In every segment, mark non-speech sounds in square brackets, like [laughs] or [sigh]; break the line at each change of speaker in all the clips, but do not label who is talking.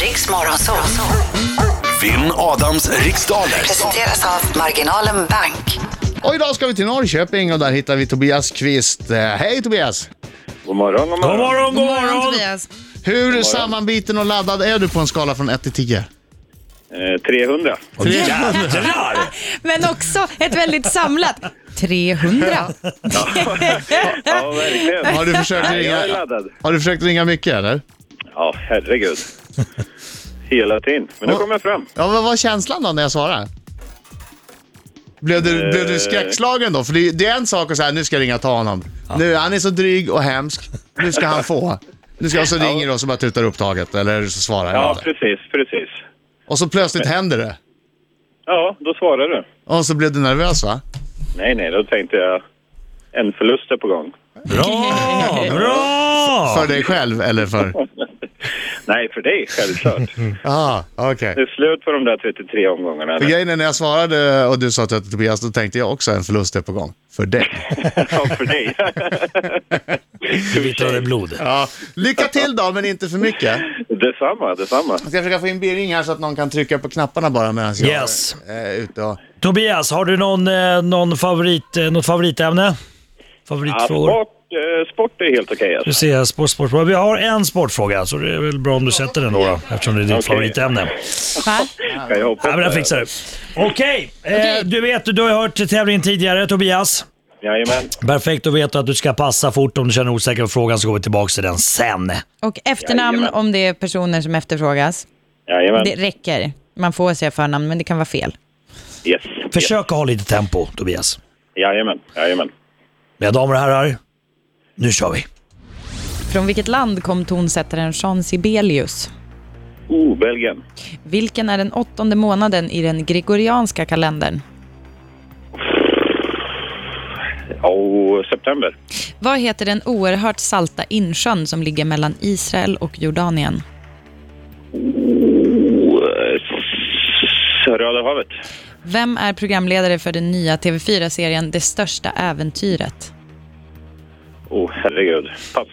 Riks Morgonzoo.
Vinn Adams riksdaler.
Presenteras av Marginalen Bank.
Och idag ska vi till Norrköping och där hittar vi Tobias Kvist. Eh, Hej Tobias!
God morgon, god morgon.
God morgon, god
morgon
morgon!
Tobias.
Hur sammanbiten och laddad är du på en skala från 1 till 10?
Eh, 300.
Jädrar!
Men också ett väldigt samlat 300.
Ja, verkligen.
Har du försökt
Nej, jag är
ringa,
laddad.
har du försökt ringa mycket eller?
Ja, herregud. Hela tiden. Men nu
Och-
kommer jag fram.
Ja, vad var känslan då när jag svarade? Blev du, blev
Eh.
du skräckslagen då? För det, det är en sak att säga nu ska jag ringa och ta honom. Nu, han är så dryg och hemsk. Nu ska han få. Nu ska, och så ringer du och så bara tutar upp taget eller så svarar jag
Ja,
inte.
precis, precis.
Och så plötsligt händer det.
Ja, då svarar du.
Och så blev du nervös va?
Nej, nej, då tänkte jag en förlust är på gång.
Bra, bra!
För dig själv
[laughs]
eller för...
Nej, för dig, självklart.
Ja, okej.
Det är slut på de där 33 omgångarna.
För grejen är när jag svarade och du sa att jag hette Tobias, då tänkte jag också en förlust är på gång. För dig.
Ja, för dig.
Du vittrade blod.
Ja. Lycka till då, men inte för mycket.
[laughs] Detsamma, detsamma.
Jag ska försöka få in Birring här så att någon kan trycka på knapparna bara medan jag
Yes.
är ute och...
Tobias, har du någon, eh, någon favorit, eh, något favoritämne?
Ja,
Favoritfrågor?
sport, eh, sport är helt okej.
Du
alltså.
ser, sport, sport, sport. Vi har en sportfråga, så det är väl bra om du sätter den då, då eftersom det är ditt
Okej.
favoritämne.
Va?
Kan jag hoppa
Ja, men det fixar du. Okej, eh, du vet, du har hört tävlingen tidigare, Tobias.
Jajamän.
Perfekt, då vet du att du ska passa fort om du känner osäker på frågan så går vi tillbaka till den sen.
Och efternamn
Jajamän.
om det är personer som efterfrågas.
Jajamän.
Det räcker. Man får säga förnamn, men det kan vara fel.
Yes. yes.
Försök att ha lite tempo, Tobias.
Jajamän, jajamän.
Mina damer och herrar, nu kör vi.
Från vilket land kom tonsättaren Jean Sibelius?
Oh, Belgien.
Vilken är den åttonde månaden i den gregorianska kalendern?
Oh, september.
Vad heter den oerhört salta insjön som ligger mellan Israel och Jordanien?
S- Oh, eh, Röda havet.
Vem är programledare för den nya TV4-serien Det största äventyret?
Oh, herregud. Pass.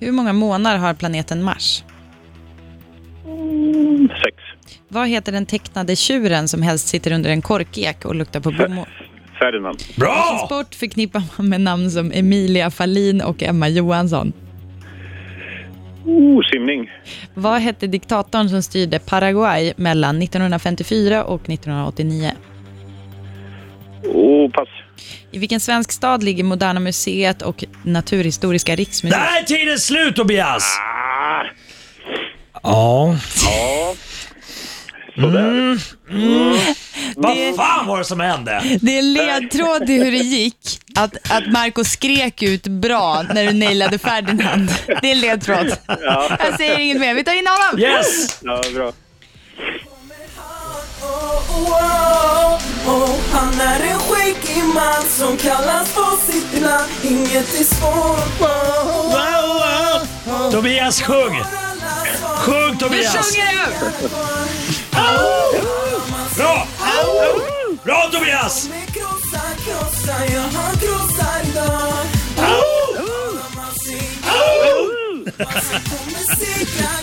Hur många månader har planeten Mars?
Sex.
Vad heter den tecknade tjuren som helst sitter under en korkek och luktar på blommor?
Ferdinand.
Bra!
Sport förknippar man med namn som Emilia Fallin och Emma Johansson.
Oh, simning.
Vad hette diktatorn som styrde Paraguay mellan 1954 och 1989?
Oh, pass.
I vilken svensk stad ligger Moderna Museet och Naturhistoriska riksmuseet?
Där är tiden slut, Tobias!
Ah,
Ja.
sådär.
Mm. Vad fan var det som hände?
Det är en ledtråd till hur det gick. Att, att Marco skrek ut bra när du nailade Ferdinand. Det är en ledtråd. Jag säger inget mer. Vi tar in honom.
Yes!
Ja, bra.
Han är en skäggig man som kallas på sitt land Inget är svårt wow.
Tobias, sjung! Sjung, Tobias! Bra! Bra, Tobias!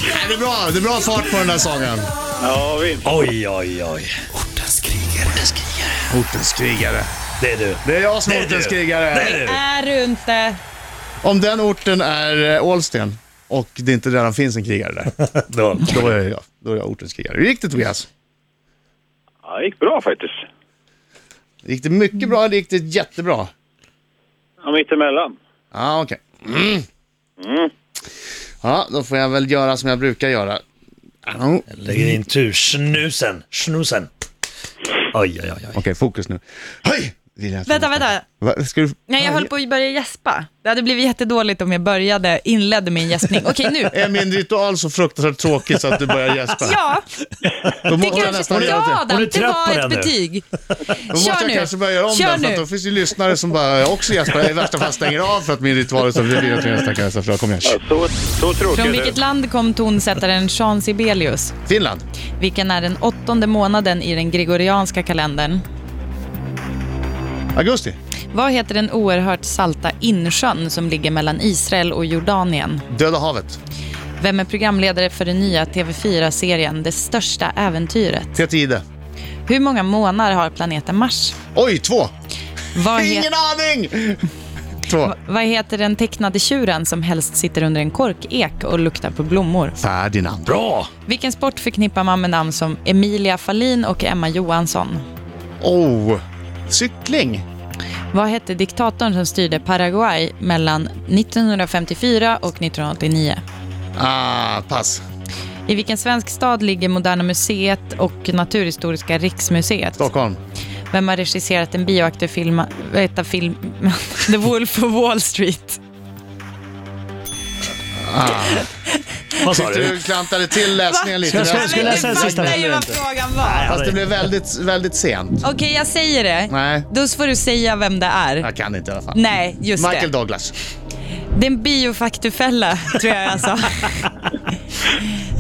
Nej, det är bra, det är bra fart på den där sången.
Ja, visst.
Oj, oj, oj.
Ortens krigare.
Det är du.
Det är jag som är
Det är
ortens
du.
krigare.
Det är du.
Är du inte?
Om den orten är eh, Ålsten och det inte redan finns en krigare där,
[laughs] Då.
då är jag, då är jag ortens krigare. Hur gick det Tobias?
Ja, det gick bra faktiskt.
Gick det mycket bra eller gick det jättebra?
Ja, mittemellan.
Ja, okej. Mm. Ja, då får jag väl göra som jag brukar göra. Ja, Okej,
Lägger in tur. Snusen. Snusen. Oj, oj, oj. oj.
fokus nu. Höj! Vill jag-
Vänta, vänta.
Va, ska du...
Nej, jag höll på att börja gäspa. Det hade blivit jättedåligt om jag började, inledde med
[laughs]
en gäspning. Okej, nu.
Är min ritual så fruktansvärt tråkig så att du börjar gäspa?
Ja,
då
det
måste jag nästan
kanske...
göra det.
Ja, Adam,
Hon är
det
trött på
var ett
den nu.
betyg.
[laughs] Då måste
Kör
jag
nu.
kanske börja göra om
Kör
den, för att
nu.
då finns det ju lyssnare som bara "Jag också gäspar. I värsta fall stänger av för att min ritual är så förvirrad till nästa kanske. Så kom igen.
Ja, så, så tråkigt.
Från vilket land kom tonsättaren Jean Sibelius?
Finland.
Vilken är den åttonde månaden i den gregorianska kalendern?
Augusti.
Vad heter den oerhört salta insjön som ligger mellan Israel och Jordanien?
Döda havet.
Vem är programledare för den nya TV4-serien Det största äventyret?
Peter Jihde.
Hur många månader har planeten Mars?
Oj, två!
Vad, he-
Ingen aning! Två.
vad heter den tecknade tjuren som helst sitter under en korkek och luktar på blommor?
Ferdinand.
Bra!
Vilken sport förknippar man med namn som Emilia Fahlin och Emma Johansson?
Oh. Cykling.
Vad hette diktatorn som styrde Paraguay mellan 1954 och 1989?
Ah, pass.
I vilken svensk stad ligger Moderna Museet och Naturhistoriska Riksmuseet?
Stockholm.
Vem har regisserat den bioakterfilm... Vad heter film... [laughs] The Wolf of Wall Street?
Vad sa du?
Du klantade till läsningen lite.
Jag skulle- skulle jag säga
Fast
sista
fattar ju
meningen
vad
inte.
frågan var.
det blev väldigt, väldigt sent.
Okej, jag säger det.
Nej.
Då får du säga vem det är.
Jag kan inte i alla fall.
Nej, just
Michael
det.
Douglas.
Det är en biofaktufälla, tror jag
[laughs]
jag sa.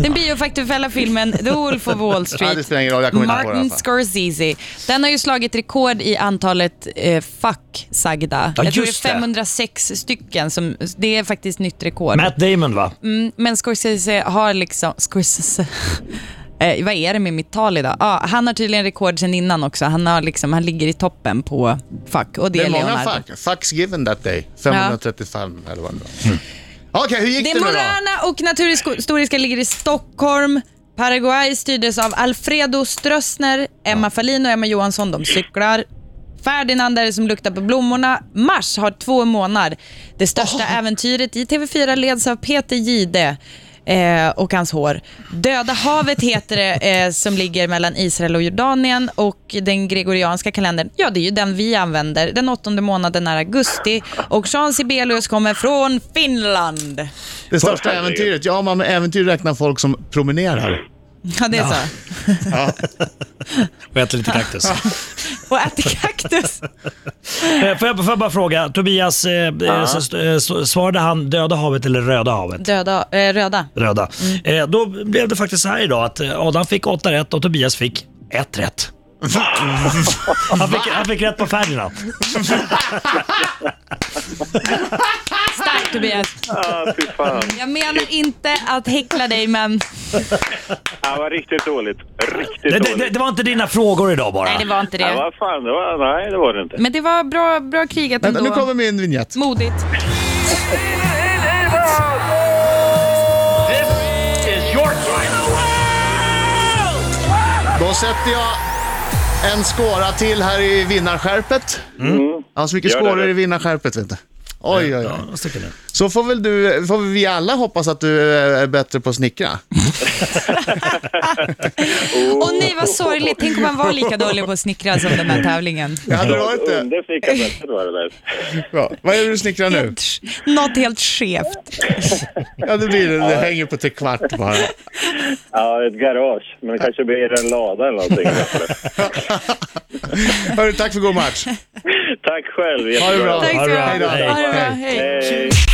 Den biofaktufälla-filmen The Wolf of Wall
Nej, det
Street,
spelar ingen roll. Jag kommer inte ihåg det i alla
Martin
fall.
Scorsese. Den har ju slagit rekord i antalet eh, fuck sagda.
Ja,
jag tror det är
just det.
506 stycken. Som, det är faktiskt nytt rekord.
Matt Damon va?
Men Scorsese har liksom... Scorsese. [laughs] Eh, vad är det med mitt tal idag? Ah, han har tydligen rekord sen innan också. Han, har liksom, han ligger i toppen på fuck. Och det,
Det
är
är många
Leonardo. Mm.
fuck. Fucks given that day. 535 eller vad det var. Mm. Okej, hur gick
Det
det,
är
nu då?
Moderna och Naturhistoriska ligger i Stockholm. Paraguay styrdes av Alfredo Strössner, Emma Fahlin och Emma Johansson. De cyklar. Ferdinand är det som luktar på blommorna. Mars har två månader. Det största äventyret i TV4 leds av Peter Gide eh, och hans hår. Döda havet heter det eh, som ligger mellan Israel och Jordanien och den gregorianska kalendern, ja det är ju den vi använder. Den åttonde månaden är augusti och Jean Sibelius kommer från Finland.
Det största äventyret? Ja, man med äventyr räknar folk som promenerar.
Ja, det är så.
Och äter lite kaktus.
Och äter kaktus.
Eh, Får jag, får jag bara fråga, Tobias, eh, eh, så, st- eh, så, svarade han döda havet eller röda havet?
Döda, eh, röda.
Röda. Eh, då blev det faktiskt så här idag att eh, Adam fick åtta rätt och Tobias fick ett rätt. Han fick, han fick rätt på Ferdinand.
Starkt Tobias.
Ah, fy fan.
Jag menar inte att häckla dig, men
Ah, var riktigt dåligt. Riktigt
Det, det,
dåligt.
det, det var inte dina frågor idag bara.
nej det var inte
Ja,
det.
vad fan, det var, nej det var det inte.
Men det var bra, bra krigat
Vänta, nu kommer
ändå.
min vignett.
Modigt.
Då sätter jag en skåra till här i vinnarskärpet. Jag har så mycket
Mm. Gör det,
skåror
du.
i vinnarskärpet, vet du. Oj, oj, oj.
Ja, stycken nu.
Så får väl du, får vi alla hoppas att du eh, är bättre på att snickra.
Och nej vad sorgligt, tänk om man var lika dålig på att snickra som den här tävlingen.
Det hade varit det.
Undersnickat bättre var det där.
Bra. Vad är det du snickrar nu?
Något helt skevt.
Ja, det blir det. Det hänger på tre kvart
[laughs]
bara.
Ja, ett garage. Men det kanske blir en lada eller någonting.
Hörru, tack för god match.
Tack själv.
Ha det bra.
Tack så
All
mycket.
right.
Ha det bra,
Hej.
hej.
Hej.